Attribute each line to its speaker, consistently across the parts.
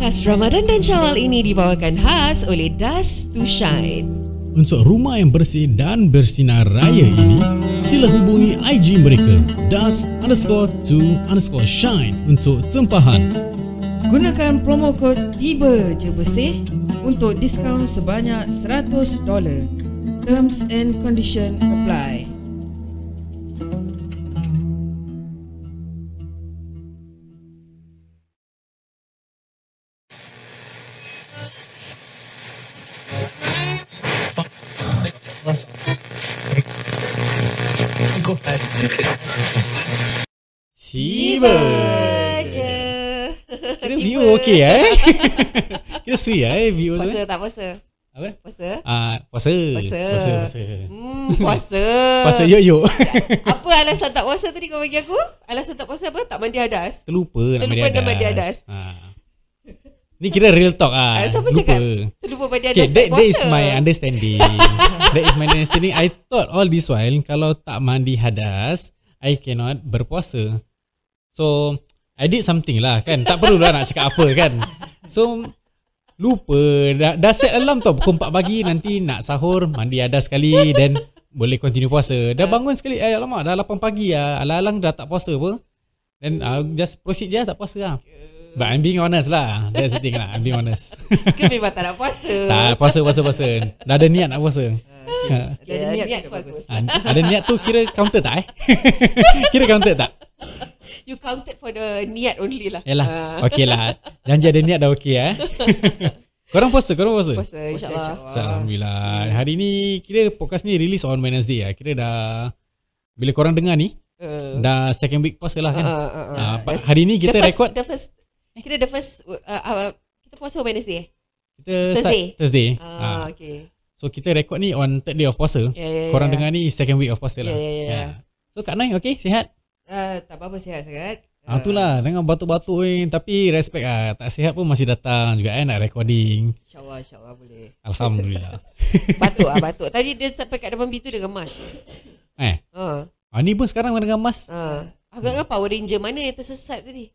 Speaker 1: khas Ramadan dan Syawal ini dibawakan khas oleh Dust to Shine.
Speaker 2: Untuk rumah yang bersih dan bersinar raya ini, sila hubungi IG mereka dust underscore to underscore shine untuk tempahan.
Speaker 3: Gunakan promo kod tiba je bersih untuk diskaun sebanyak $100. Terms and condition apply.
Speaker 2: Tiba!
Speaker 1: je.
Speaker 2: Kira view okey eh? Kira sui eh view tu
Speaker 1: Puasa
Speaker 2: eh?
Speaker 1: tak puasa?
Speaker 2: Apa?
Speaker 1: Puasa?
Speaker 2: Ah, puasa.
Speaker 1: Puasa.
Speaker 2: Puasa. Puasa.
Speaker 1: Hmm, puasa.
Speaker 2: Puasa ya. yo-yo.
Speaker 1: Apa alasan tak puasa tadi kau bagi aku? Alasan tak puasa apa? Tak mandi hadas.
Speaker 2: Terlupa nama dia
Speaker 1: Terlupa
Speaker 2: adas.
Speaker 1: nama dia adas.
Speaker 2: Ha. Ni kira real talk ah.
Speaker 1: Ah, siapa
Speaker 2: Lupa.
Speaker 1: cakap? Terlupa mandi hadas
Speaker 2: Okay,
Speaker 1: tak
Speaker 2: that,
Speaker 1: puasa.
Speaker 2: that is my understanding. that is my understanding. I thought all this while kalau tak mandi hadas, I cannot berpuasa. So, I did something lah kan. Tak perlulah nak cakap apa kan. So, lupa. Dah, dah set alarm tau. Pukul 4 pagi nanti nak sahur, mandi hadas sekali. Then, boleh continue puasa. Dah bangun sekali. Eh, alamak, dah 8 pagi lah. Alang-alang dah tak puasa apa. Then, uh, just proceed je tak puasa lah. But I'm being honest lah. That's the thing lah. I'm being honest.
Speaker 1: Ke memang tak nak puasa?
Speaker 2: Tak, puasa, puasa, puasa. Dah ada niat nak puasa. Ha.
Speaker 3: Jadi
Speaker 1: Ya,
Speaker 3: niat,
Speaker 1: niat
Speaker 3: niat
Speaker 1: tu
Speaker 3: bagus.
Speaker 1: bagus.
Speaker 2: Ha, ada niat tu kira counter tak eh? kira counter tak?
Speaker 1: You counted for the niat only lah.
Speaker 2: Yalah, okey lah. Janji ada niat dah okey eh. korang puasa, korang puasa?
Speaker 1: Puasa Ah. insyaAllah.
Speaker 2: So, Alhamdulillah. Hari ni, kira podcast ni release on Wednesday lah. Kira dah, bila korang dengar ni,
Speaker 1: Uh,
Speaker 2: dah second week puasa lah kan?
Speaker 1: uh, uh, uh.
Speaker 2: Ah, but hari ni kita
Speaker 1: the first,
Speaker 2: record
Speaker 1: The first, kita the first, uh, uh, kita puasa Wednesday eh?
Speaker 2: kita
Speaker 1: Thursday.
Speaker 2: start Thursday.
Speaker 1: Ah,
Speaker 2: Ah,
Speaker 1: okay.
Speaker 2: So kita record ni on third day of puasa.
Speaker 1: Ya, ya, ya.
Speaker 2: korang dengar ni second week of puasa lah.
Speaker 1: Ya, ya, ya.
Speaker 2: Ya. So Kak Nai okay sihat?
Speaker 3: Uh, tak apa-apa sihat sangat.
Speaker 2: Ah, tu
Speaker 1: Ya.
Speaker 2: lah dengan batuk-batuk ni tapi respect ah tak sihat pun masih datang juga eh nak recording.
Speaker 3: Ah, InsyaAllah, insyaAllah boleh.
Speaker 2: Alhamdulillah.
Speaker 1: Batuk ah batuk. Tadi dia sampai kat depan pintu dia gemas.
Speaker 2: eh,
Speaker 1: Ha.
Speaker 2: ah, ni pun sekarang dengan Mas.
Speaker 1: Ha. Agak kan Power Ranger mana yang tersesat tadi?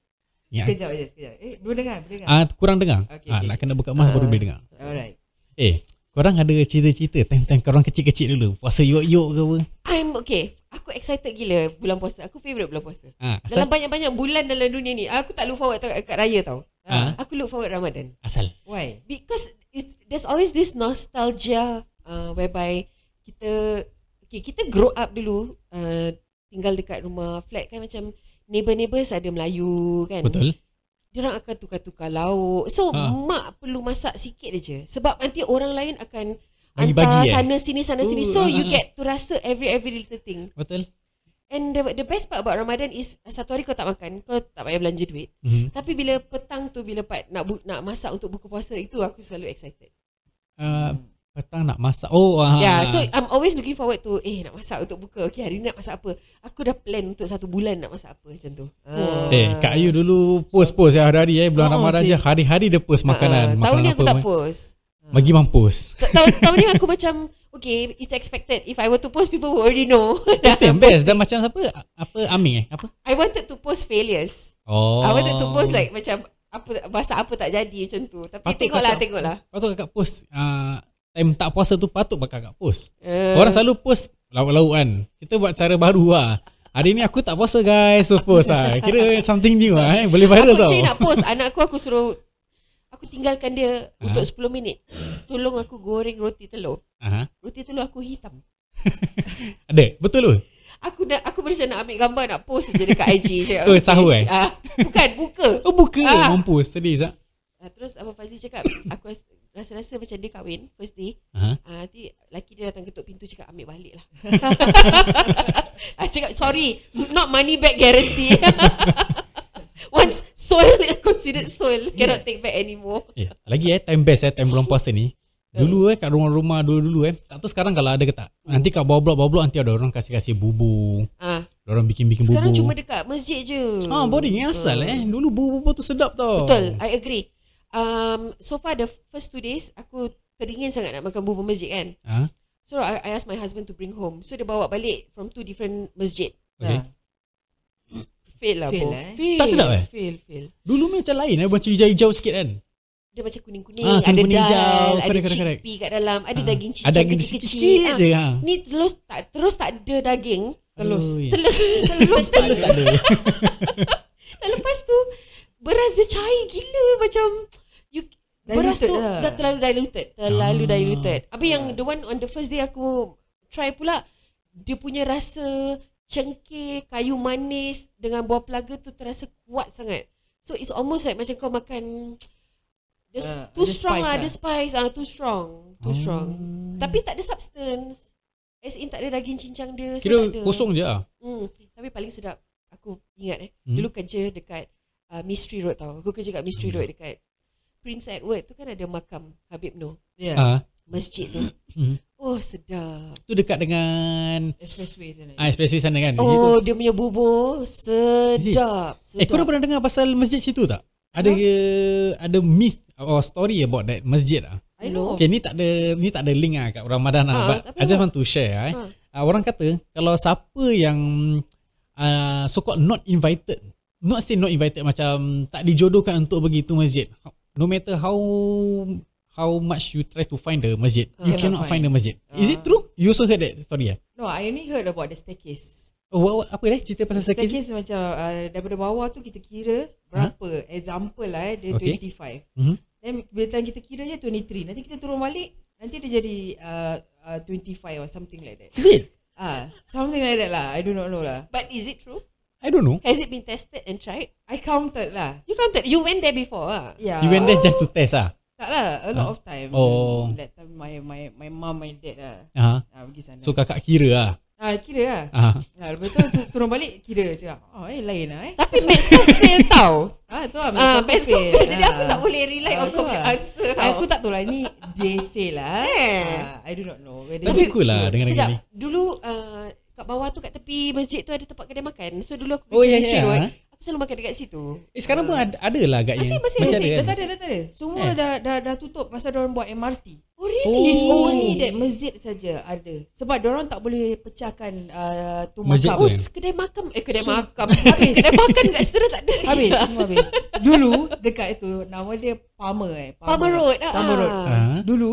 Speaker 2: Ya.
Speaker 3: Sekejap je, sekejap. Eh, boleh dengar, boleh dengar.
Speaker 2: Ah, kurang dengar.
Speaker 3: Okey,
Speaker 2: ah,
Speaker 3: okey.
Speaker 2: nak kena buka Mas baru
Speaker 1: Ah.
Speaker 2: boleh dengar.
Speaker 3: Alright.
Speaker 2: Eh, korang ada cerita-cerita time-time korang kecil-kecil dulu. Puasa yok-yok ke apa?
Speaker 1: I'm okay. Aku excited gila bulan puasa. Aku favourite bulan puasa.
Speaker 2: Ah, asal
Speaker 1: Dalam banyak-banyak bulan dalam dunia ni, aku tak look forward tau- kat raya tau.
Speaker 2: Ah.
Speaker 1: Aku look forward Ramadan.
Speaker 2: asal.
Speaker 3: Why?
Speaker 1: Because it, there's always this nostalgia uh, whereby kita okay, kita grow up dulu uh, tinggal dekat rumah flat kan macam neighbor-neighbors ada Melayu kan.
Speaker 2: Betul.
Speaker 1: Diorang akan tukar-tukar lauk. So ha.
Speaker 2: Ha.
Speaker 1: mak perlu masak sikit aja sebab nanti orang lain akan
Speaker 2: Bagi-bagi, eh?
Speaker 1: hantar sana sini sana sini.
Speaker 2: Ooh,
Speaker 1: So
Speaker 2: ah,
Speaker 1: you
Speaker 2: ah, ah.
Speaker 1: get to rasa every every little thing.
Speaker 2: Betul.
Speaker 1: And the the best part about Ramadan is satu hari kau tak makan, kau tak payah belanja duit.
Speaker 2: Mhm.
Speaker 1: Tapi bila petang tu bila part nak bu- nak masak untuk buka puasa itu aku selalu excited.
Speaker 2: Ah, petang nak masak. Oh, ah.
Speaker 1: Yeah, Ya, so I'm always looking forward to eh nak masak untuk buka. Okay, hari ni nak masak apa? Aku dah plan untuk satu bulan nak masak apa macam tu. Ah.
Speaker 2: Eh, Kak Ayu dulu post-post ya hari-hari eh bulan
Speaker 3: Oh,
Speaker 2: Ramadan je
Speaker 3: sih.
Speaker 2: hari-hari dia post
Speaker 1: Ah,
Speaker 2: makanan.
Speaker 1: Tahun
Speaker 2: makanan
Speaker 1: ni aku tak
Speaker 2: ma-
Speaker 1: post.
Speaker 2: Bagi mampus.
Speaker 1: tahun, tahun ni aku macam Okay it's expected If I were to post People would already know
Speaker 2: Itu yang best dan macam apa? Apa Aming eh? Apa?
Speaker 1: I wanted to post failures oh.
Speaker 2: Oh.
Speaker 1: I wanted to post like Macam apa Bahasa apa tak jadi macam tu Tapi
Speaker 2: Patut
Speaker 1: tengoklah
Speaker 2: kakak-
Speaker 1: Tengoklah
Speaker 2: Patut kakak post uh, time tak puasa tu patut kakak post.
Speaker 1: uh,
Speaker 2: Uh. Orang selalu post lauk-lauk kan. Kita buat cara baru lah. Hari ni aku tak puasa guys. So post lah. Kira something new lah eh. Boleh
Speaker 1: Aku
Speaker 2: viral tau.
Speaker 1: actually nak post Anak aku aku suruh Aku tinggalkan dia
Speaker 2: Ah.
Speaker 1: Untuk 10 minit Tolong aku goreng roti telur
Speaker 2: Aha.
Speaker 1: Roti telur aku hitam
Speaker 2: Ada? Betul tu?
Speaker 1: Aku nak aku macam nak ambil gambar Nak post je dekat IG cakap,
Speaker 2: Oh, sahur eh?
Speaker 1: Ah, Bukan buka
Speaker 2: Oh buka.
Speaker 1: Ah.
Speaker 2: Mampus. Sedih Zak.
Speaker 1: Ah, Terus Abang Fazli cakap Aku ras- rasa-rasa macam dia kahwin First day
Speaker 2: Aha.
Speaker 1: Ah, nanti laki dia datang ketuk pintu cakap ambil balik lah. ah, cakap sorry, not money back guarantee. Once soul considered soul cannot take back anymore.
Speaker 2: Eh, lagi eh time best eh time bulan puasa ni. Dulu eh kat rumah-rumah dulu-dulu eh. Tak tahu sekarang kalau ada ke tak. Nanti kat bawah blok bawah blok nanti ada orang kasih-kasih bubur.
Speaker 1: Ah,
Speaker 2: Orang bikin-bikin bubur.
Speaker 1: sekarang cuma dekat masjid je.
Speaker 2: Ah, boring yang asal eh. Dulu bubur-bubur tu sedap tau.
Speaker 1: Betul, I agree. Um, so far the first two days aku teringin sangat nak makan bubur masjid kan.
Speaker 2: Ha?
Speaker 1: So I, I asked my husband to bring home. So dia bawa balik from two different masjid.
Speaker 2: Okay.
Speaker 3: Ah.
Speaker 1: Fail lah
Speaker 3: Fail
Speaker 1: bro.
Speaker 3: lah, eh.
Speaker 1: Fail.
Speaker 2: Tak sedap eh?
Speaker 1: Fail, fail.
Speaker 2: Dulu macam lain eh Macam hijau-hijau sikit kan
Speaker 1: dia macam kuning-kuning, ah,
Speaker 2: Ah,
Speaker 1: ada
Speaker 2: kuning-kuning
Speaker 1: dal,
Speaker 2: hijau.
Speaker 1: ada
Speaker 2: Correct, correct, correct.
Speaker 1: chickpea kat dalam, ada
Speaker 2: Ah.
Speaker 1: daging cicak
Speaker 2: Ada daging
Speaker 1: kecil-kecil.
Speaker 2: sikit-sikit je. Ha.
Speaker 1: Ah, ni terus tak terus tak ada daging,
Speaker 3: Telus.
Speaker 2: Ui.
Speaker 1: telus telus tak ada.
Speaker 2: Tak ya. ada.
Speaker 1: Dan lepas tu beras dia cair gila macam you, beras tu
Speaker 3: Diluted lah. Ya.
Speaker 1: dah terlalu diluted, terlalu
Speaker 2: Ah.
Speaker 1: ah. diluted. Habis yang the one on the first day aku try pula dia punya rasa cengkeh, kayu manis dengan buah pelaga tu terasa kuat sangat. So it's almost like macam kau makan dia
Speaker 3: Ah,
Speaker 1: uh, too
Speaker 3: ada
Speaker 1: strong
Speaker 3: spice
Speaker 1: lah,
Speaker 3: lah.
Speaker 1: ada spice ah too strong, too
Speaker 2: Oh.
Speaker 1: strong. Tapi tak ada substance. As in tak ada daging cincang dia semua
Speaker 2: Kira
Speaker 1: tak ada.
Speaker 2: kosong je ah.
Speaker 1: Hmm, tapi paling sedap aku ingat eh.
Speaker 2: Hmm.
Speaker 1: Hmm. Dulu kerja dekat uh, Mystery Road tau. Aku kerja kat Mystery hmm. Road dekat Prince Edward tu kan ada makam Habib Noh,
Speaker 3: Yeah.
Speaker 2: Ah.
Speaker 1: masjid tu.
Speaker 2: Hmm.
Speaker 1: Oh, sedap.
Speaker 2: Tu dekat dengan
Speaker 3: Expressway sana.
Speaker 2: ah, expressway sana kan.
Speaker 1: Oh, dia punya bubur sedap.
Speaker 2: Eh,
Speaker 1: Sedap.
Speaker 2: korang pernah dengar pasal masjid situ tak? Ada ke, ada myth or story about that masjid ah.
Speaker 3: I know.
Speaker 2: Okay, ni tak ada ni tak ada link ah kat Ramadan ah.
Speaker 1: Oh. Ah,
Speaker 2: But
Speaker 1: tapi
Speaker 2: I just
Speaker 1: apa?
Speaker 2: want to share ah. Eh.
Speaker 1: Ah.
Speaker 2: Ah, orang kata kalau siapa yang uh, so called not invited, not say not invited macam tak dijodohkan untuk pergi tu masjid. How- No matter how how much you try to find the masjid,
Speaker 1: Ah.
Speaker 2: you
Speaker 3: Cannot
Speaker 2: cannot find
Speaker 3: find.
Speaker 2: the masjid. Is it
Speaker 3: Ah.
Speaker 2: true? You also heard that story ah?
Speaker 3: No, I only heard about the staircase.
Speaker 2: Oh, what, what, apa dia cerita pasal staircase?
Speaker 3: Staircase macam uh, daripada bawah tu kita kira berapa. Example lah eh,
Speaker 2: Okay.
Speaker 3: dia okay. 25.
Speaker 2: Ha? Mhm.
Speaker 3: Then bila time kita kira je 23. Nanti kita turun balik, nanti dia jadi uh, uh, 25 or something like that.
Speaker 2: Is it?
Speaker 3: Ah, something like that lah. I do not know lah.
Speaker 1: But is it true?
Speaker 2: I don't know.
Speaker 1: Has it been tested and tried?
Speaker 3: I counted lah.
Speaker 1: You counted. You went there before ah.
Speaker 3: Yeah.
Speaker 2: You went there just to test ah.
Speaker 3: Tak lah, a lot of time.
Speaker 2: Oh.
Speaker 3: That time my my my mom, my dad lah.
Speaker 2: Uh-huh.
Speaker 3: Ah, pergi sana.
Speaker 2: So kakak kira ah.
Speaker 3: ah, kira lah.
Speaker 2: Ah.
Speaker 3: Ah, lepas tu tu- turun balik kira je. Oh, eh lain lah eh.
Speaker 1: Tapi maths kau fail tau.
Speaker 3: Ah, tu lah.
Speaker 1: Ah, maths kau fail. Jadi aku
Speaker 3: Ah.
Speaker 1: tak boleh rely on
Speaker 3: Ah,
Speaker 1: kau
Speaker 3: tu
Speaker 1: punya
Speaker 3: lah.
Speaker 1: answer.
Speaker 3: Ah,
Speaker 1: tau.
Speaker 3: Aku tak tahu lah Ni they say lah
Speaker 1: Eh.
Speaker 3: Ah, I do not know whether
Speaker 2: Tapi
Speaker 3: it's
Speaker 2: cool lah
Speaker 3: true.
Speaker 2: dengan
Speaker 1: Sedap.
Speaker 2: ni.
Speaker 1: Dulu uh, kat bawah tu kat tepi masjid tu ada tempat kedai makan. So dulu aku kerja
Speaker 2: Oh,
Speaker 1: oh,
Speaker 2: ya,
Speaker 1: yeah,
Speaker 2: ya.
Speaker 1: Road. Aku selalu makan dekat situ.
Speaker 2: Eh sekarang pun ada, ada lah agaknya.
Speaker 1: Masih, masih,
Speaker 2: Macam
Speaker 1: masih.
Speaker 2: ada
Speaker 3: Dah
Speaker 2: kan?
Speaker 3: tak ada Dah tak ada Semua
Speaker 2: Eh.
Speaker 3: dah, dah dah tutup Pasal diorang buat MRT
Speaker 1: Oh really?
Speaker 2: Oh.
Speaker 3: It's only that masjid saja ada Sebab diorang tak boleh pecahkan uh, Tu
Speaker 2: Masjid
Speaker 3: makam
Speaker 1: Oh,
Speaker 2: tu.
Speaker 1: kedai makam. Eh, kedai
Speaker 3: So,
Speaker 1: makam.
Speaker 3: habis.
Speaker 1: kedai makan kat situ dah tak ada lagi.
Speaker 3: Habis Semua habis Dulu Dekat itu Nama dia Palmer eh
Speaker 1: Palmer Road. ah,
Speaker 3: Palmer Road
Speaker 1: ah.
Speaker 2: Ah.
Speaker 3: Dulu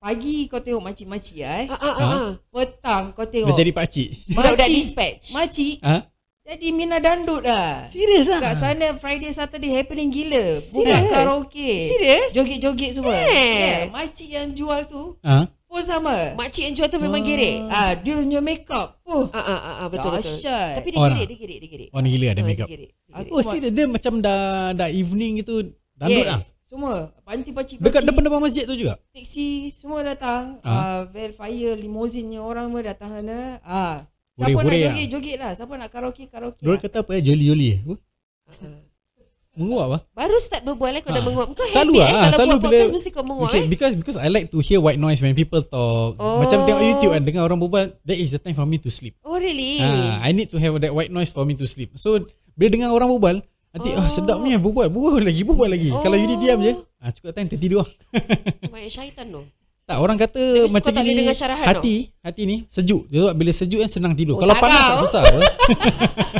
Speaker 3: Pagi kau tengok makcik-makcik lah eh
Speaker 1: Ah, ah, ah, ah.
Speaker 3: Petang kau
Speaker 2: Dah
Speaker 3: tengok
Speaker 2: jadi pakcik.
Speaker 1: Budak-budak
Speaker 3: Makcik
Speaker 1: dispatch.
Speaker 3: Makcik
Speaker 2: Ah.
Speaker 3: Jadi Mina Dandut lah
Speaker 2: Serius ah.
Speaker 3: Kat sana Friday Saturday happening gila. Bukan
Speaker 1: Serious?
Speaker 3: karaoke.
Speaker 1: Serius?
Speaker 3: Joget-joget semua.
Speaker 1: Eh.
Speaker 3: Yeah, makcik yang jual tu
Speaker 2: Ah.
Speaker 3: pun sama.
Speaker 1: Makcik yang jual tu memang
Speaker 2: Ah.
Speaker 1: gerek.
Speaker 3: ah, dia punya makeup. Oh.
Speaker 1: Ah, ah, ah, ah, betul, betul.
Speaker 3: Dahsyat.
Speaker 1: Tapi dia
Speaker 2: Orang.
Speaker 1: gerek, dia gerek, dia gerek.
Speaker 2: Orang gila ada
Speaker 1: Ah,
Speaker 2: makeup.
Speaker 1: Dia gerek. dia gerek.
Speaker 2: Oh, serius dia macam dah dah evening gitu. Dandut ah.
Speaker 3: Semua. Panti pakcik
Speaker 2: Dekat depan-depan masjid tu juga.
Speaker 3: teksi semua datang.
Speaker 2: Ah.
Speaker 3: Ah, Velfire, limousine orang semua datang sana. Ah. Siapa
Speaker 2: Hore-hore
Speaker 3: nak
Speaker 2: ah.
Speaker 3: joget, joget lah. Siapa nak karaoke, karaoke.
Speaker 2: Dia
Speaker 1: Ya.
Speaker 3: Lah.
Speaker 2: kata apa eh? Joli-joli. eh? Apa?
Speaker 1: Ah, ah.
Speaker 2: Menguap ah.
Speaker 1: Baru start berbual eh, kau dah
Speaker 2: Ah.
Speaker 1: menguap. Kau
Speaker 2: Selalu
Speaker 1: happy
Speaker 2: ah,
Speaker 1: eh. Kalau
Speaker 2: selalu
Speaker 1: buat
Speaker 2: bila-
Speaker 1: podcast, mesti kau menguap
Speaker 2: Okay,
Speaker 1: eh.
Speaker 2: because because I like to hear white noise when people talk.
Speaker 1: Oh.
Speaker 2: Macam tengok YouTube kan dengar orang berbual, that is the time for me to sleep.
Speaker 1: Oh, really?
Speaker 2: Ah, I need to have that white noise for me to sleep. So bila dengar orang berbual, nanti
Speaker 1: Oh.
Speaker 2: oh. sedap ni berbual, berbual lagi, berbual lagi.
Speaker 1: Oh.
Speaker 2: Kalau you ni diam je, ah cukup time tertidur. ah.
Speaker 1: Banyak syaitan tu.
Speaker 2: tak orang kata
Speaker 1: Tapi
Speaker 2: macam
Speaker 1: kau tak boleh
Speaker 2: gini
Speaker 1: dengar syarahan
Speaker 2: hati, hati ni sejuk. Sebab bila sejuk kan senang tidur.
Speaker 1: Oh,
Speaker 2: Kalau
Speaker 1: tak
Speaker 2: panas
Speaker 1: kau.
Speaker 2: tak susah. apa.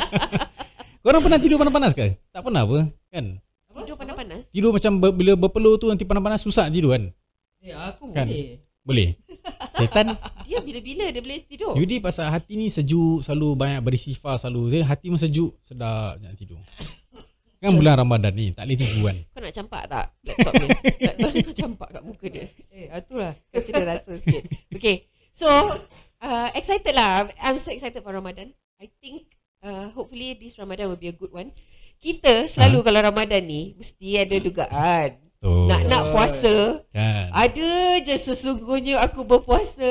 Speaker 2: Korang pernah tidur panas-panas ke? Tak pernah apa? Kan?
Speaker 1: Tidur panas-panas.
Speaker 2: Tidur macam ber, bila berpeluh tu nanti panas-panas susah nak tidur kan?
Speaker 3: Ya, aku
Speaker 2: Kan?
Speaker 3: boleh.
Speaker 2: Boleh. Setan
Speaker 1: Dia bila-bila dia boleh tidur.
Speaker 2: Yudi pasal hati ni sejuk Selalu banyak bersifar selalu Jadi hati pun sejuk Sedap nak tidur Kan bulan Ramadan ni Tak boleh tidur kan
Speaker 1: Kau nak campak tak laptop ni? Laptop ni kau campak kat muka dia.
Speaker 3: Eh, itulah.
Speaker 1: Kau cedera rasa sikit. Okay. So, uh, excited lah. I'm so excited for Ramadan. I think uh, hopefully this Ramadan will be a good one. Kita selalu kalau Ramadan ni mesti ada dugaan.
Speaker 2: Betul
Speaker 1: Nak nak puasa,
Speaker 2: kan.
Speaker 1: ada je sesungguhnya aku berpuasa.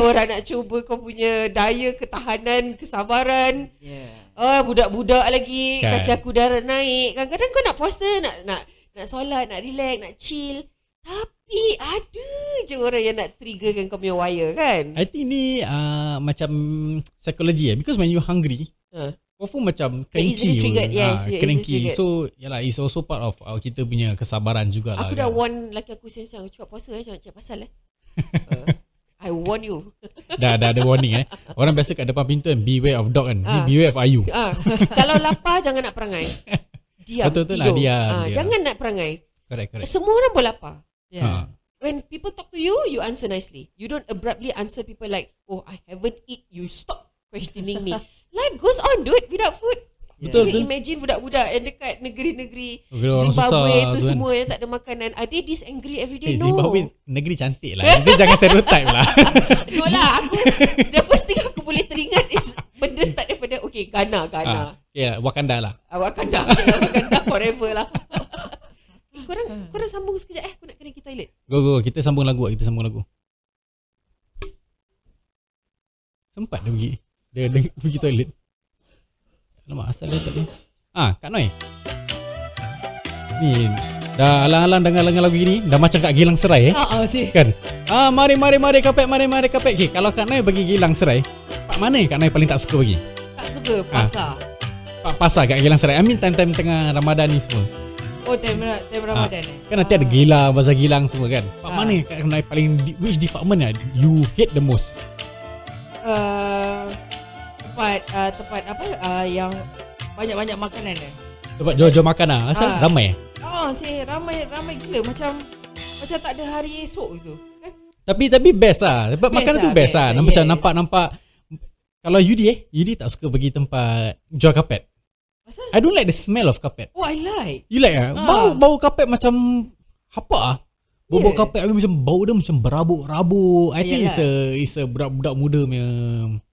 Speaker 1: Orang nak cuba kau punya daya, ketahanan, kesabaran.
Speaker 3: Yeah.
Speaker 1: Ah budak-budak lagi
Speaker 2: Kan.
Speaker 1: kan. kasi aku darah naik. Kadang-kadang kau nak puasa, nak nak nak solat, nak relax, nak chill. Tapi ada je orang yang nak triggerkan kau punya wire kan?
Speaker 2: I think ni uh, Macam Psikologi eh Because when you hungry
Speaker 1: Ha.
Speaker 2: Kau pun macam
Speaker 1: You're easily
Speaker 2: Cranky
Speaker 1: triggered,
Speaker 2: pun.
Speaker 1: yes,
Speaker 2: Ah,
Speaker 1: you're easily
Speaker 2: Cranky
Speaker 1: triggered.
Speaker 2: So yalah, It's also part of uh, Kita punya kesabaran jugalah
Speaker 1: Aku dah warn lelaki aku sensang aku cakap puasa eh jangan cakap pasal eh. Ah, I warn you.
Speaker 2: dah, dah ada warning eh Orang biasa kat depan pintu kan Beware of dog kan Ni
Speaker 1: Ah.
Speaker 2: Beware of ayu
Speaker 1: Ah, kalau lapar jangan nak perangai. Diam
Speaker 2: Betul-betul lah,
Speaker 1: tidur.
Speaker 2: diam,
Speaker 1: Ah,
Speaker 2: diam.
Speaker 1: jangan nak perangai.
Speaker 2: Correct, correct. Ah.
Speaker 1: Semua orang boleh lapar.
Speaker 2: Yeah.
Speaker 3: Yeah.
Speaker 1: When people talk to you, you answer nicely. You don't abruptly answer people like, "Oh, I haven't eat." You stop questioning me. Life goes on, dude. Without food,
Speaker 2: Betul,
Speaker 1: you
Speaker 2: betul.
Speaker 1: imagine budak-budak yang dekat negeri-negeri
Speaker 2: Negeri orang
Speaker 1: Zimbabwe
Speaker 2: susah
Speaker 1: tu
Speaker 2: tu kan.
Speaker 1: semua yang tak ada makanan. Are they this angry every day?
Speaker 2: Eh,
Speaker 1: no.
Speaker 2: Zimbabwe negeri cantik lah. Kita jangan stereotype lah.
Speaker 1: No lah aku The first thing aku boleh teringat Is benda start daripada Okay Ghana Ghana
Speaker 2: ah, yeah, Wakanda lah.
Speaker 1: ah. Wakanda Wakanda forever lah eh, Korang
Speaker 2: Ah.
Speaker 1: Korang sambung sekejap eh Aku nak kena pergi toilet
Speaker 2: Go, go. Kita sambung lagu lah. Kita sambung lagu. Sempat dia pergi. Dia, dia pergi toilet. Alamak, asal dia tak ada. Ah, Kak Noi. Ni, dah alang-alang dengar-dengar lagu gini. Dah macam Kak Gilang Serai eh.
Speaker 3: Ah, ah, sih.
Speaker 2: Kan? Ah, mari, mari, mari kapek, mari, mari kapek. Okay, kalau Kak Noi bagi Gilang Serai, Pak mana Kak Noi paling tak suka bagi?
Speaker 3: Tak suka
Speaker 2: Ah.
Speaker 3: pasar.
Speaker 2: Pak Pasar kat Gilang Serai. I mean time-time tengah Ramadan ni semua.
Speaker 3: Oh, time, Ra- time Ramadan eh.
Speaker 2: Kan nanti ada gila Bazar gilang semua kan Pak
Speaker 3: Ah.
Speaker 2: mana Kak Kenai paling di- Which department lah You hate the most
Speaker 3: Uh, tempat uh, tempat apa uh, yang banyak-banyak makanan eh.
Speaker 2: Sebab jual-jual makan lah Asal
Speaker 3: Ah.
Speaker 2: ramai eh
Speaker 3: Oh, sih ramai ramai gila macam macam tak ada hari esok gitu. Eh?
Speaker 2: Tapi tapi best lah Sebab
Speaker 3: Best
Speaker 2: makanan tu
Speaker 3: lah,
Speaker 2: best
Speaker 3: best
Speaker 2: lah
Speaker 3: lah,
Speaker 2: Nampak- Macam
Speaker 3: yes.
Speaker 2: nampak-nampak Kalau Yudi eh Yudi tak suka pergi tempat Jual karpet
Speaker 3: Pasal?
Speaker 2: I don't like the smell of karpet
Speaker 3: Oh, I like.
Speaker 2: You like lah
Speaker 3: Ah.
Speaker 2: Bau bau karpet macam Apa lah Bau-bau
Speaker 3: Yeah.
Speaker 2: karpet habis macam Bau dia macam berabuk-rabuk I think
Speaker 3: Yalah.
Speaker 2: it's a, it's a Budak-budak muda punya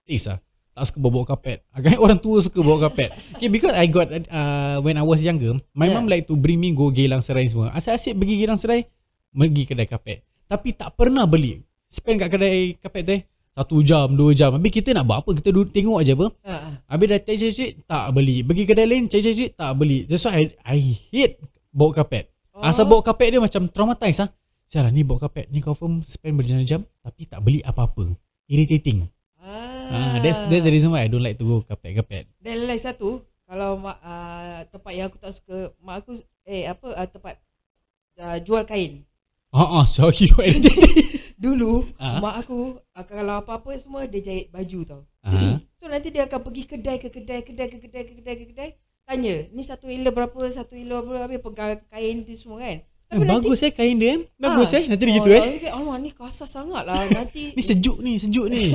Speaker 2: Taste lah tak suka bau-bau karpet Agaknya orang tua suka bau karpet Okay because I got uh, When I was younger My yeah.
Speaker 3: Yeah.
Speaker 2: mom like to bring me Go Geylang Serai ni semua Asyik-asyik pergi Geylang Serai Pergi kedai karpet Tapi tak pernah beli Spend kat kedai karpet tu eh Satu jam Dua jam Habis kita nak buat apa Kita duduk tengok aja apa
Speaker 3: Ha. ah.
Speaker 2: Habis dah cek-cek-cek tak beli. Pergi kedai lain cek-cek-cek tak beli. That's why I, I hate bau karpet. Oh. Asal bau karpet dia macam traumatise ah. Sialah ni bau karpet. Ni confirm spend berjam-jam tapi tak beli apa-apa. Irritating. Ah, that's that's the reason why I don't like to go karpet-karpet.
Speaker 3: Dan lain satu Kalau mak, uh, tempat yang aku tak suka Mak aku Eh apa uh, tempat uh, Jual kain
Speaker 2: Ha ah, sorry you irritating.
Speaker 3: Dulu
Speaker 2: Ah.
Speaker 3: Mak aku uh, Kalau apa-apa semua Dia jahit baju tau
Speaker 2: Ah.
Speaker 3: So nanti dia akan pergi kedai ke kedai Kedai ke kedai ke kedai ke kedai Tanya Ni satu elo berapa Satu elo berapa Habis pegang kain tu semua kan
Speaker 2: Eh, bagus eh kain dia. eh. Bagus
Speaker 3: Ah.
Speaker 2: eh. Nanti dia gitu eh.
Speaker 3: nanti, Alamak ni kasar sangat lah Nanti
Speaker 2: Ni sejuk ni, sejuk ni.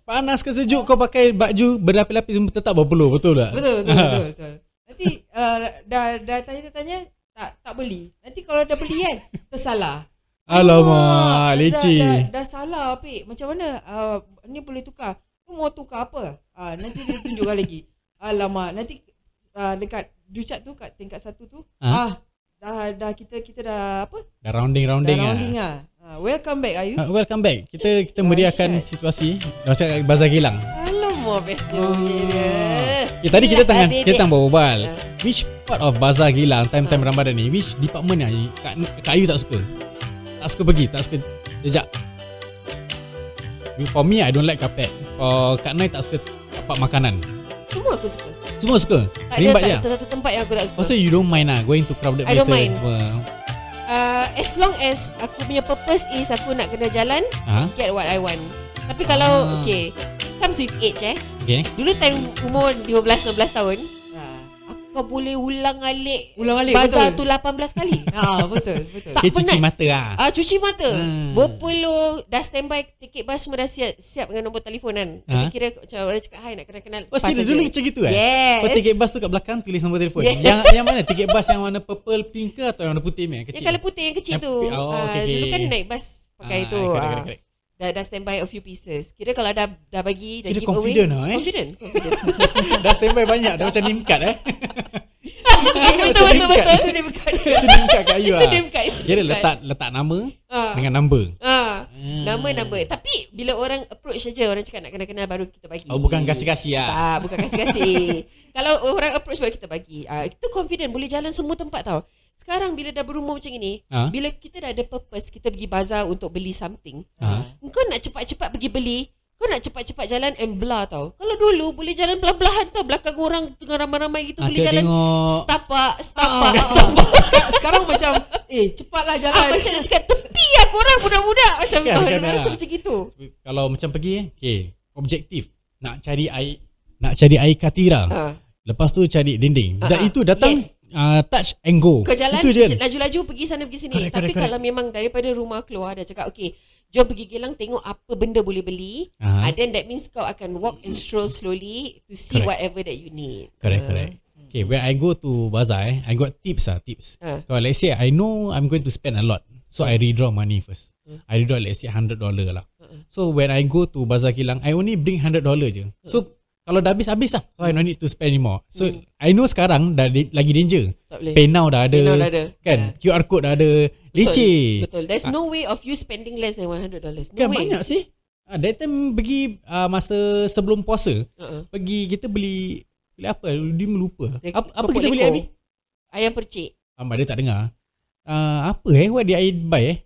Speaker 2: Panas ke sejuk kau pakai baju berlapis-lapis semua tetap berpeluh, betul tak?
Speaker 3: Betul betul betul, betul. Nanti uh, dah dah tanya-tanya tak tak beli. Nanti kalau dah beli kan tersalah.
Speaker 2: Alamak, leceh.
Speaker 3: Dah, dah, dah salah pik. Macam mana? Uh, ni boleh tukar. Lu mau tukar apa? Uh, nanti dia tunjukkan lagi. Alamak, nanti uh, dekat Ducat tu kat tingkat satu tu.
Speaker 2: Ha?
Speaker 3: Ah, dah dah kita kita dah apa?
Speaker 2: Dah rounding-rounding
Speaker 3: dah
Speaker 2: ah.
Speaker 3: rounding ah. Uh, welcome back Ayu.
Speaker 2: Uh, welcome back. Kita kita
Speaker 1: Oh,
Speaker 2: meriahkan
Speaker 3: Dahsyat.
Speaker 2: situasi masa bazar Gilang.
Speaker 1: Alamak bestnya
Speaker 2: Oh.
Speaker 1: punya dia
Speaker 2: Okay, tadi kita
Speaker 1: Lah,
Speaker 2: tengah
Speaker 1: babe,
Speaker 2: kita
Speaker 1: babe.
Speaker 2: tengah berbual.
Speaker 1: Ya.
Speaker 2: Which part of bazar Gilang time-time
Speaker 1: Ha.
Speaker 2: Ramadan ni? Which department yang Kak, Kak Ayu tak suka? Tak suka pergi, tak suka jejak. For me, I don't like carpet. For Kak Nai tak suka tapak makanan.
Speaker 1: Semua aku suka
Speaker 2: Semua suka.
Speaker 1: Tak ada
Speaker 2: Rimbat
Speaker 1: tak
Speaker 2: je. ah?
Speaker 1: ada satu tempat yang aku tak suka
Speaker 2: Also you don't mind lah going to crowded
Speaker 1: I don't mind.
Speaker 2: places semua.
Speaker 1: uh, As long as Aku punya purpose is Aku nak kena jalan
Speaker 2: Ha?
Speaker 1: Get what I want Tapi kalau
Speaker 2: Ah.
Speaker 1: Okay Comes with age eh
Speaker 2: Okay.
Speaker 1: Dulu time umur 15-16 tahun
Speaker 3: Ah,
Speaker 1: Aku kau boleh ulang alik
Speaker 3: Ulang-alik,
Speaker 1: Bazar
Speaker 3: betul.
Speaker 1: tu 18 kali
Speaker 3: ah betul betul.
Speaker 1: Tak
Speaker 2: Dia cuci
Speaker 1: penat.
Speaker 2: mata lah.
Speaker 1: Ah cuci mata.
Speaker 2: Hmm.
Speaker 1: Hmm. Berpeluh dah standby tiket bas semua dah siap siap dengan nombor telefon kan.
Speaker 2: Ha?
Speaker 1: Ha? Kira macam orang cakap hai nak kena kenal.
Speaker 2: Oh, serius
Speaker 1: passenger."
Speaker 2: dulu macam gitu eh?
Speaker 1: Yes.
Speaker 2: Kau tiket bas tu kat belakang tulis nombor telefon.
Speaker 1: Yes.
Speaker 2: Yang yang mana? Tiket bas yang warna purple, pink ke atau yang warna putih ni? Yang
Speaker 1: Yang
Speaker 2: kecil.
Speaker 1: kalau putih yang kecil
Speaker 2: Yang
Speaker 1: tu.
Speaker 2: putih. Oh,
Speaker 1: Ah,
Speaker 2: okay, okay.
Speaker 1: Dulu kan naik bas pakai
Speaker 2: Ah,
Speaker 1: tu. ah.
Speaker 2: correct, correct, correct.
Speaker 1: Dah dah standby a few pieces. Kira kalau dah dah bagi dah
Speaker 2: Kira
Speaker 1: give away.
Speaker 2: confident lah, eh?
Speaker 1: Confident. confident.
Speaker 2: Dah standby banyak dah macam name card eh.
Speaker 1: betul betul
Speaker 2: Macam
Speaker 1: betul.
Speaker 2: name
Speaker 1: Itu dia bukan.
Speaker 2: card. Itu name card kat you
Speaker 1: Itu
Speaker 2: lah.
Speaker 1: dia bukan.
Speaker 2: Kira letak letak nama
Speaker 1: Ah.
Speaker 2: dengan number.
Speaker 1: Ah.
Speaker 2: Ah.
Speaker 1: Nama nama Tapi bila orang approach saja Orang cakap nak kenal-kenal Baru kita bagi
Speaker 2: Oh bukan kasih-kasih lah.
Speaker 1: Tak, Ah, bukan kasih-kasih. Kalau orang approach baru kita bagi. Ah, itu confident boleh jalan semua tempat tau. Sekarang bila dah berumur macam ini,
Speaker 2: Ha?
Speaker 1: bila kita dah ada purpose, kita pergi bazar untuk beli something.
Speaker 2: Ha?
Speaker 1: Kau nak cepat-cepat pergi beli, kau nak cepat-cepat jalan and blah tau. Kalau dulu boleh jalan pelan-pelan tau belakang orang tengah ramai-ramai gitu
Speaker 2: Ah,
Speaker 1: boleh
Speaker 2: kita
Speaker 1: jalan
Speaker 2: tengok.
Speaker 1: setapak, setapak.
Speaker 3: Ah,
Speaker 1: setapak.
Speaker 3: Sek- Sekarang macam Eh cepatlah jalan
Speaker 1: Ah, macam nak cakap tepi lah korang budak-budak Macam
Speaker 2: Kan,
Speaker 1: kau
Speaker 2: kan,
Speaker 1: dia rasa
Speaker 2: ah.
Speaker 1: macam gitu
Speaker 2: Kalau macam pergi eh, okay, objektif nak cari air nak cari air katira.
Speaker 1: Ah.
Speaker 2: Lepas tu cari dinding.
Speaker 1: Ah,
Speaker 2: Dan
Speaker 1: ah.
Speaker 2: itu datang
Speaker 1: Yes.
Speaker 2: ah, uh, touch and go.
Speaker 1: Kau jalan
Speaker 2: Itu je kan?
Speaker 1: laju-laju pergi sana pergi sini.
Speaker 2: Correct,
Speaker 1: Correct, Tapi
Speaker 2: correct,
Speaker 1: correct, kalau memang daripada rumah keluar dah cakap okay, jom pergi Geylang tengok apa benda boleh beli.
Speaker 2: Aha.
Speaker 1: Uh, then that means kau akan walk and stroll slowly to see correct.
Speaker 2: Correct.
Speaker 1: whatever that you need.
Speaker 2: Correct, correct. Okay, when I go to bazaar, eh, I got tips ah, tips.
Speaker 1: Ah.
Speaker 2: So let's say I know I'm going to spend a lot, so I redraw money first.
Speaker 1: Hmm.
Speaker 2: I redraw let's say hundred dollar lah.
Speaker 1: Ah,
Speaker 2: So when I go to bazaar kilang, I only bring hundred dollar je. So kalau dah habis habis lah, so I no need to spend anymore. So
Speaker 1: Hmm.
Speaker 2: I know sekarang dah di- lagi danger.
Speaker 1: Tak boleh.
Speaker 2: Pay now dah ada,
Speaker 1: Pay now dah ada. Ah,
Speaker 2: kan? QR code dah ada, leceh.
Speaker 1: Betul. There's no way of you spending less than $100. No
Speaker 2: Kan
Speaker 1: way.
Speaker 2: banyak sih. Ah, that time pergi ah, masa sebelum puasa,
Speaker 1: Uh-uh.
Speaker 2: pergi kita beli beli apa? Dia melupa.
Speaker 1: Dia-
Speaker 2: Apa, apa
Speaker 1: keropok
Speaker 2: kita beli
Speaker 1: leko.
Speaker 2: Abi?
Speaker 1: Ayam percik.
Speaker 2: Ahmad dia tak dengar. Uh, apa eh? What did I buy eh?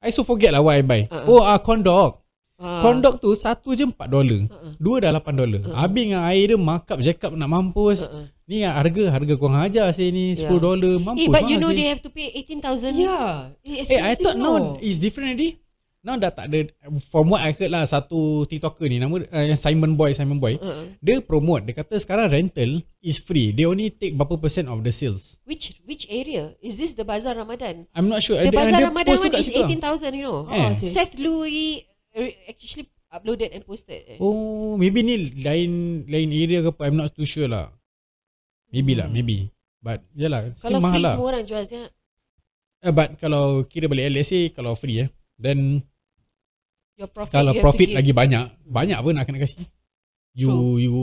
Speaker 2: I so forget lah what I buy.
Speaker 1: Uh-uh.
Speaker 2: Uh-uh. Oh, ah, condog.
Speaker 1: Ah.
Speaker 2: Uh. Condog tu satu je 4 dolar.
Speaker 1: Uh-uh.
Speaker 2: Dua dah 8 dolar. Uh-uh. Habis dengan air dia markup jackup nak mampus.
Speaker 1: Uh-uh.
Speaker 2: Uh-uh. Ni ah, harga harga kurang ajar sih ni
Speaker 1: Yeah.
Speaker 2: 10 dolar mampus.
Speaker 1: Eh, but you
Speaker 2: mahal
Speaker 1: know
Speaker 2: sih.
Speaker 1: they have to pay 18,000.
Speaker 3: Yeah. Eh,
Speaker 2: Eh, I thought now
Speaker 3: no.
Speaker 2: is different already. Now dah tak ada From what I heard lah Satu TikToker ni Nama uh, Simon Boy Simon Boy uh-uh.
Speaker 1: Uh-uh.
Speaker 2: Dia promote Dia kata sekarang rental Is free They only take Berapa percent of the sales
Speaker 1: Which which area? Is this the Bazaar Ramadan?
Speaker 2: I'm not sure
Speaker 1: The
Speaker 2: Dia-
Speaker 1: Bazaar
Speaker 2: dia
Speaker 1: Ramadan
Speaker 2: post tu
Speaker 1: one
Speaker 2: kat
Speaker 1: is
Speaker 2: situ lah.
Speaker 1: 18,000, you know.
Speaker 2: Eh.
Speaker 1: Oh, Seth Louis uh, actually uploaded and posted. Eh.
Speaker 2: Oh, maybe ni lain lain area ke apa. I'm not too sure lah. Maybe hmm. lah, maybe. But yalah,
Speaker 1: Kalau
Speaker 2: still mahal
Speaker 1: free
Speaker 2: lah.
Speaker 1: semua orang jual siap.
Speaker 2: Eh, but kalau kira balik let's say kalau free eh, then
Speaker 1: Your profit
Speaker 2: kalau
Speaker 1: you have to
Speaker 2: profit
Speaker 1: give.
Speaker 2: lagi banyak, banyak pun nak kena kasi. You
Speaker 1: True.
Speaker 2: you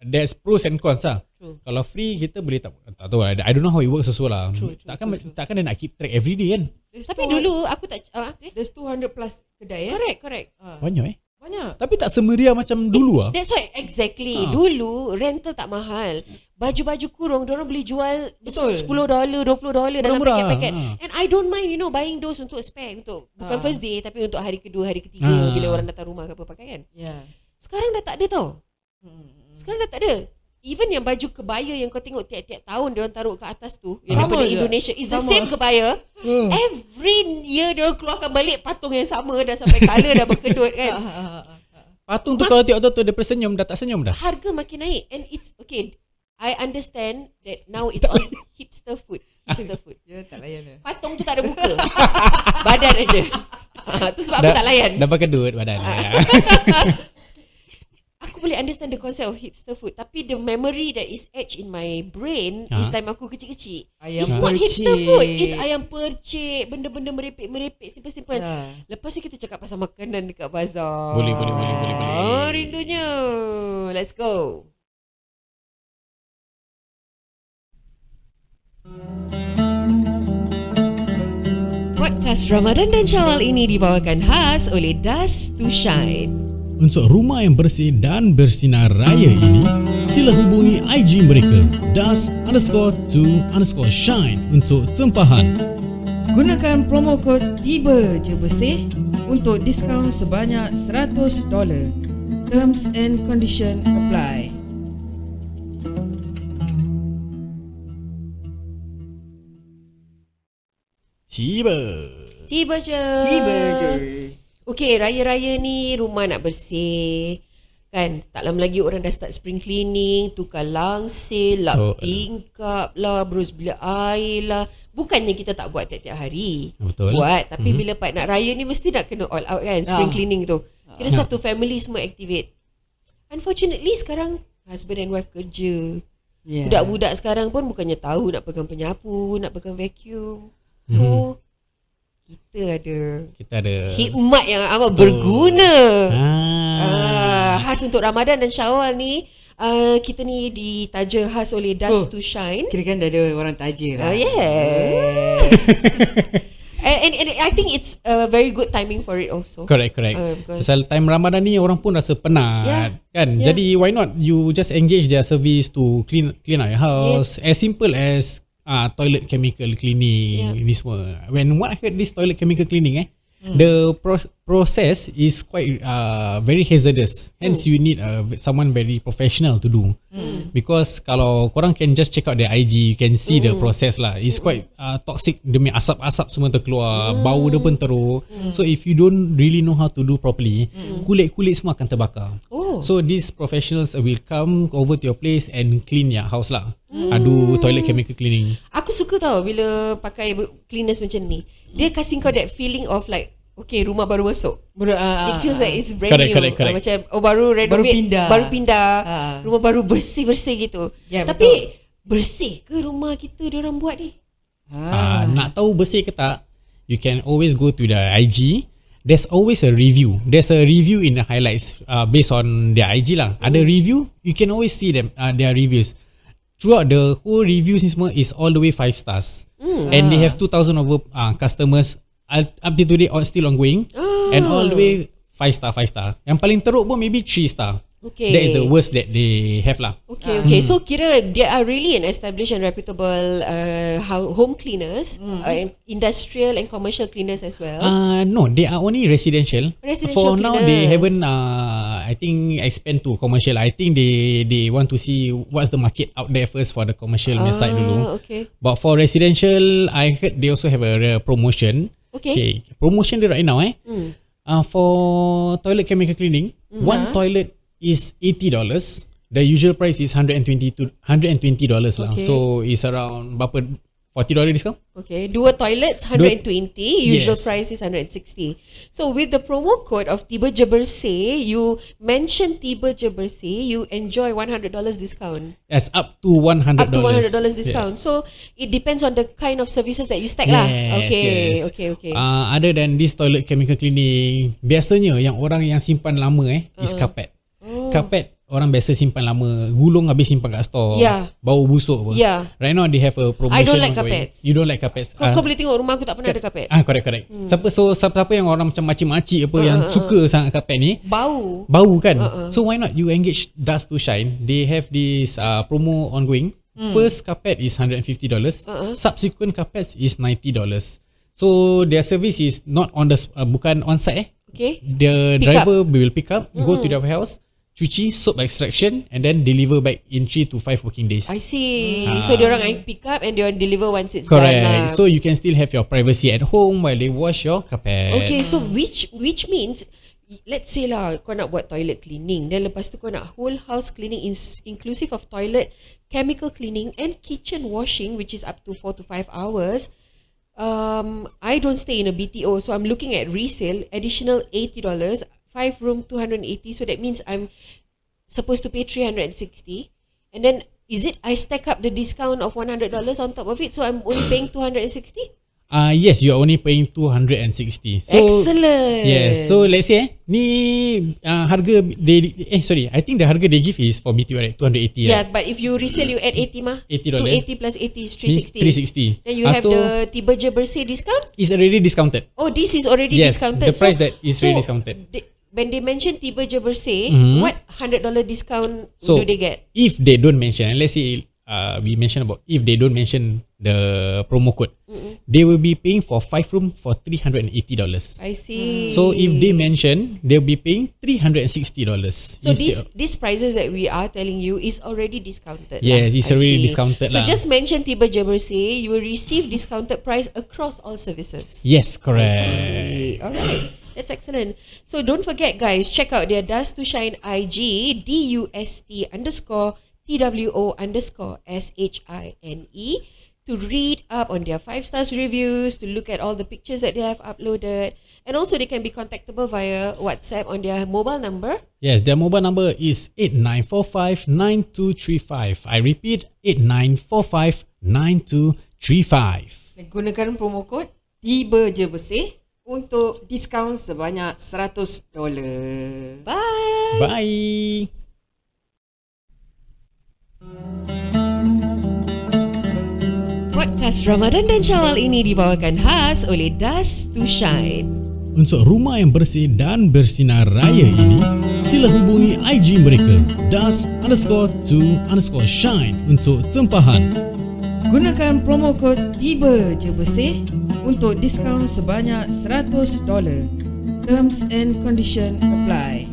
Speaker 2: there's pros and cons lah.
Speaker 1: True.
Speaker 2: Kalau free kita boleh tak tak tahu lah. I don't know how it works also lah.
Speaker 1: True, true,
Speaker 2: takkan
Speaker 1: true, true.
Speaker 2: takkan dia nak keep track every day kan.
Speaker 3: There's
Speaker 1: Tapi
Speaker 3: 200
Speaker 1: dulu aku tak ah, eh?
Speaker 3: There's 200 plus kedai eh.
Speaker 1: Correct, correct.
Speaker 3: Ah,
Speaker 2: Banyak eh.
Speaker 3: Banyak.
Speaker 2: Tapi tak semeria macam dulu lah.
Speaker 1: That's why exactly. Ha.
Speaker 2: Ah.
Speaker 1: Dulu rental tak mahal. Baju-baju kurung orang boleh jual
Speaker 3: Betul.
Speaker 1: $10, $20 dalam
Speaker 2: Murah-murah.
Speaker 1: paket-paket.
Speaker 2: Ah.
Speaker 1: And I don't mind you know buying those untuk spare untuk bukan
Speaker 3: Ah.
Speaker 1: first day tapi untuk hari kedua, hari ketiga
Speaker 2: Ah.
Speaker 1: bila orang datang rumah ke apa pakai kan.
Speaker 3: Yeah.
Speaker 1: Sekarang dah tak ada tau.
Speaker 3: Ya. Hmm.
Speaker 1: Sekarang dah tak ada. Even yang baju kebaya yang kau tengok tiap-tiap tahun dia orang taruh ke atas tu yang
Speaker 3: Sama
Speaker 1: daripada
Speaker 3: je.
Speaker 1: Indonesia is the
Speaker 3: Sama. Hmm.
Speaker 1: same kebaya. Every year dia orang keluarkan balik patung yang sama dah sampai color dah berkedut kan.
Speaker 3: Ah, ah, ah, ah.
Speaker 2: Patung tu kalau tengok tu dia senyum dah tak senyum dah.
Speaker 1: harga makin naik and it's okay I understand that now it's all hipster food hipster food
Speaker 3: Ya, tak layan dia.
Speaker 1: patung tu tak ada muka badan aja ha, tu sebab aku tak layan
Speaker 2: Dah pakai duit badan.
Speaker 1: aku boleh understand the concept of hipster food tapi the memory that is etched in my brain
Speaker 2: Ah.
Speaker 1: is time aku kecil-kecil
Speaker 3: Ayam
Speaker 1: it's not hipster
Speaker 3: percik.
Speaker 1: food it's ayam percik benda-benda merepek-merepek simple-simple
Speaker 3: Ah.
Speaker 1: Lepas ni kita cakap pasal makanan dekat bazar.
Speaker 2: Boleh, boleh, boleh, boleh, boleh.
Speaker 1: Ah, rindunya. Let's go. Podcast Ramadan dan Syawal ini dibawakan khas oleh Dust to Shine.
Speaker 2: Untuk rumah yang bersih dan bersinar raya ini, sila hubungi IG mereka dust underscore to underscore shine untuk tempahan.
Speaker 3: Gunakan promo kod tiba je bersih untuk diskaun sebanyak $100. Terms and condition apply.
Speaker 2: Tiba.
Speaker 1: Tiba je.
Speaker 3: Tiba je.
Speaker 1: Okey, raya-raya ni rumah nak bersih. Kan, tak lama lagi orang dah start spring cleaning, tukar langsir, lap
Speaker 2: Betul.
Speaker 1: tingkap lah, berus bilik air lah. Bukannya kita tak buat tiap-tiap hari.
Speaker 2: Betul.
Speaker 1: Buat, tapi mm-hmm. bila part nak raya ni mesti nak kena all out kan, spring
Speaker 3: Ah.
Speaker 1: cleaning tu. Kira
Speaker 2: Ah.
Speaker 1: satu family semua activate. Unfortunately sekarang husband and wife kerja.
Speaker 3: Yeah.
Speaker 1: Budak-budak sekarang pun bukannya tahu nak pegang penyapu, nak pegang vacuum. So, kita ada
Speaker 2: Kita ada Ha.
Speaker 1: Hikmat yang amat
Speaker 2: Betul.
Speaker 1: berguna.
Speaker 3: Hmm.
Speaker 2: Ah.
Speaker 1: Ah, khas untuk Ramadan dan Syawal ni, uh, kita ni ditaja khas oleh Dust to
Speaker 3: Oh.
Speaker 1: Shine.
Speaker 3: Kira kan dah ada orang tajir
Speaker 1: Uh,
Speaker 3: lah.
Speaker 1: yes. and, and, and I think it's a very good timing for it also.
Speaker 2: Correct, correct.
Speaker 1: Ah, because-
Speaker 2: Pasal time Ramadan ni orang pun rasa penat,
Speaker 1: Yeah.
Speaker 2: kan?
Speaker 1: Yeah.
Speaker 2: Jadi why not you just engage their service to clean clean up your house as simple as ah toilet chemical
Speaker 1: Yeah.
Speaker 2: cleaning
Speaker 1: Hmm.
Speaker 2: ni semua. When what I heard this toilet chemical cleaning eh, the pro- process is quite uh, very hazardous. Hence,
Speaker 1: Oh.
Speaker 2: you need uh, someone very professional to do.
Speaker 1: Hmm.
Speaker 2: Because kalau korang can just check out their IG, you can see the process lah. It's quite uh, toxic. Dia punya asap-asap semua terkeluar. Bau dia pun teruk. So, if you don't really know how to do properly, kulit-kulit semua akan terbakar.
Speaker 1: Oh.
Speaker 2: So, these professionals will come over to your place and clean your house lah. Adu toilet chemical cleaning.
Speaker 1: Aku suka tau bila pakai bu- cleaners macam ni. Dia kasi kau that feeling of like okay rumah baru masuk.
Speaker 3: Ber, uh,
Speaker 1: It feels like it's brand
Speaker 2: Correct,
Speaker 1: new.
Speaker 2: correct, correct.
Speaker 1: Ah, Macam oh baru renovate,
Speaker 3: Baru pindah.
Speaker 1: baru pindah.
Speaker 3: Ah.
Speaker 1: Rumah baru bersih-bersih gitu.
Speaker 3: Ya,
Speaker 1: Tapi bersih ke rumah kita diorang buat ni?
Speaker 2: Ah, nak tahu bersih ke tak, you can always go to the IG. There's always a review. There's a review in the highlights uh, based on their IG lah. Ada review, you can always see them uh, their reviews. Throughout the whole reviews ni semua is all the way 5 stars. Mm. And they have 2,000 over uh, customers Al- up to today all still ongoing. Oh. And all the way 5 star, 5 star. Yang paling teruk pun maybe 3 star.
Speaker 1: Okay.
Speaker 2: That is the worst that they have lah.
Speaker 1: Okay, uh. okay. So kira they are really an established and reputable uh, how- home cleaners,
Speaker 3: Hmm.
Speaker 1: mm. uh, and industrial and commercial cleaners as well.
Speaker 2: Uh, no, they are only residential.
Speaker 1: Residential
Speaker 2: For now, they
Speaker 1: cleaners.
Speaker 2: haven't. Uh, I think expand to commercial. I think they they want to see what's the market out there first for the commercial punya side dulu.
Speaker 1: Ah, okay.
Speaker 2: But for residential, I heard they also have a, uh, promotion.
Speaker 1: Okay. Hmm.
Speaker 2: Promotion dia right now eh. Mm. Uh, for toilet chemical cleaning, one toilet is eighty dollars. The usual price is 120 to 120 dollars lah.
Speaker 1: Okay.
Speaker 2: So it's around berapa 40 dollar discount?
Speaker 1: Okay, dua toilets 120, usual
Speaker 2: Yes.
Speaker 1: price is 160. So with the promo code of Tiba Jebersih, you mention Tiba Jebersih, you enjoy $100 discount.
Speaker 2: Yes, up to 100
Speaker 1: Up to $100 discount.
Speaker 2: Yes.
Speaker 1: So it depends on the kind of services that you stack lah.
Speaker 2: Yes,
Speaker 1: Okay,
Speaker 2: yes.
Speaker 1: okay, okay.
Speaker 2: Uh, other than this toilet chemical cleaning, biasanya yang orang yang simpan lama eh uh.
Speaker 1: Uh-huh.
Speaker 2: is carpet. Oh. Carpet orang biasa simpan lama, gulung habis simpan kat store.
Speaker 1: Yeah.
Speaker 2: Bau busuk apa.
Speaker 1: Yeah.
Speaker 2: Right now they have a promotion.
Speaker 1: Ya. I don't like
Speaker 2: ongoing.
Speaker 1: carpets.
Speaker 2: You don't like carpets.
Speaker 1: kau, kau boleh tengok rumah aku tak pernah ada kapet.
Speaker 2: Ah correct correct. Hmm. Siapa so siapa yang orang macam makcik-makcik apa uh, yang
Speaker 1: Uh-huh,
Speaker 2: suka sangat carpet ni,
Speaker 1: Bau.
Speaker 2: bau kan uh-uh. so why not you engage dust to shine they have this uh, promo ongoing
Speaker 1: Hmm.
Speaker 2: mm. first carpet is 150 dollars uh-uh. subsequent carpets is 90 dollars so their service is not on the s- uh, bukan on site eh
Speaker 1: Okay.
Speaker 2: the
Speaker 1: Pick Mm-hmm.
Speaker 2: driver will pick up mm. go to their warehouse cuci soap extraction and then deliver back in 3 to 5 working days
Speaker 1: I see. So dia orang I pick up and dia orang deliver once it's
Speaker 2: Ah. correct
Speaker 1: done lah.
Speaker 2: so you can still have your privacy at home while they wash your carpet
Speaker 1: Okay, so which which means let's say lah kau nak buat toilet cleaning then lepas tu kau nak whole house cleaning is inclusive of toilet, chemical cleaning and kitchen washing which is up to 4 to 5 hours. Um I don't stay in a BTO so I'm looking at resale additional $80, 5 room 280 so that means I'm supposed to pay 360 and then is it I stack up the discount of $100 on top of it so I'm only paying 260?
Speaker 2: Uh, yes, you are only paying 260. So,
Speaker 1: Excellent.
Speaker 2: Yes, so let's say eh, ni uh, harga they, eh sorry, I think the harga they give is for BTO right, 280
Speaker 1: Yeah,
Speaker 2: right?
Speaker 1: but if you resell, you add 80 mah.
Speaker 2: $80.
Speaker 1: 280 plus 80 is
Speaker 2: Means
Speaker 1: 360.
Speaker 2: 360.
Speaker 1: Then you
Speaker 2: Ah,
Speaker 1: have
Speaker 2: so
Speaker 1: the Tiba Je Bersih discount.
Speaker 2: it's already discounted.
Speaker 1: Oh, this is already
Speaker 2: Yes,
Speaker 1: discounted.
Speaker 2: the price that is really discounted.
Speaker 1: They, when they mention Tiba Je Bersih,
Speaker 2: Mhm.
Speaker 1: what $100 discount do
Speaker 2: So
Speaker 1: they get?
Speaker 2: If they don't mention, and let's say uh, we mention about if they don't mention the promo code, they will be paying for five room for three hundred and eighty dollars.
Speaker 1: I see.
Speaker 2: So if they mention, they'll be paying three hundred and sixty dollars.
Speaker 1: So these these prices that we are telling you is already discounted.
Speaker 2: Yes,
Speaker 1: lah.
Speaker 2: it's
Speaker 1: I
Speaker 2: already
Speaker 1: see.
Speaker 2: discounted
Speaker 1: So
Speaker 2: lah.
Speaker 1: just mention Tiba Je Bersih, you will receive discounted price across all services.
Speaker 2: yes, correct.
Speaker 1: Alright, That's excellent. So don't forget, guys, check out their Dust to Shine IG, D U S T underscore T W O underscore S H I N E, to read up on their five stars reviews, to look at all the pictures that they have uploaded. And also, they can be contactable via WhatsApp on their mobile number.
Speaker 2: Yes, their mobile number is 8945-9235. I repeat, 8945-9235.
Speaker 3: ah, Gunakan promo code Tiba je bersih untuk diskaun sebanyak $100.
Speaker 1: Bye!
Speaker 2: Bye.
Speaker 1: Podcast Ramadan dan Syawal ini dibawakan khas oleh Dust to Shine.
Speaker 2: Untuk rumah yang bersih dan bersinar raya ini, sila hubungi IG mereka dust underscore to underscore shine untuk tempahan.
Speaker 3: Gunakan promo kod Tiba je bersih untuk diskaun sebanyak $100. Terms and condition apply.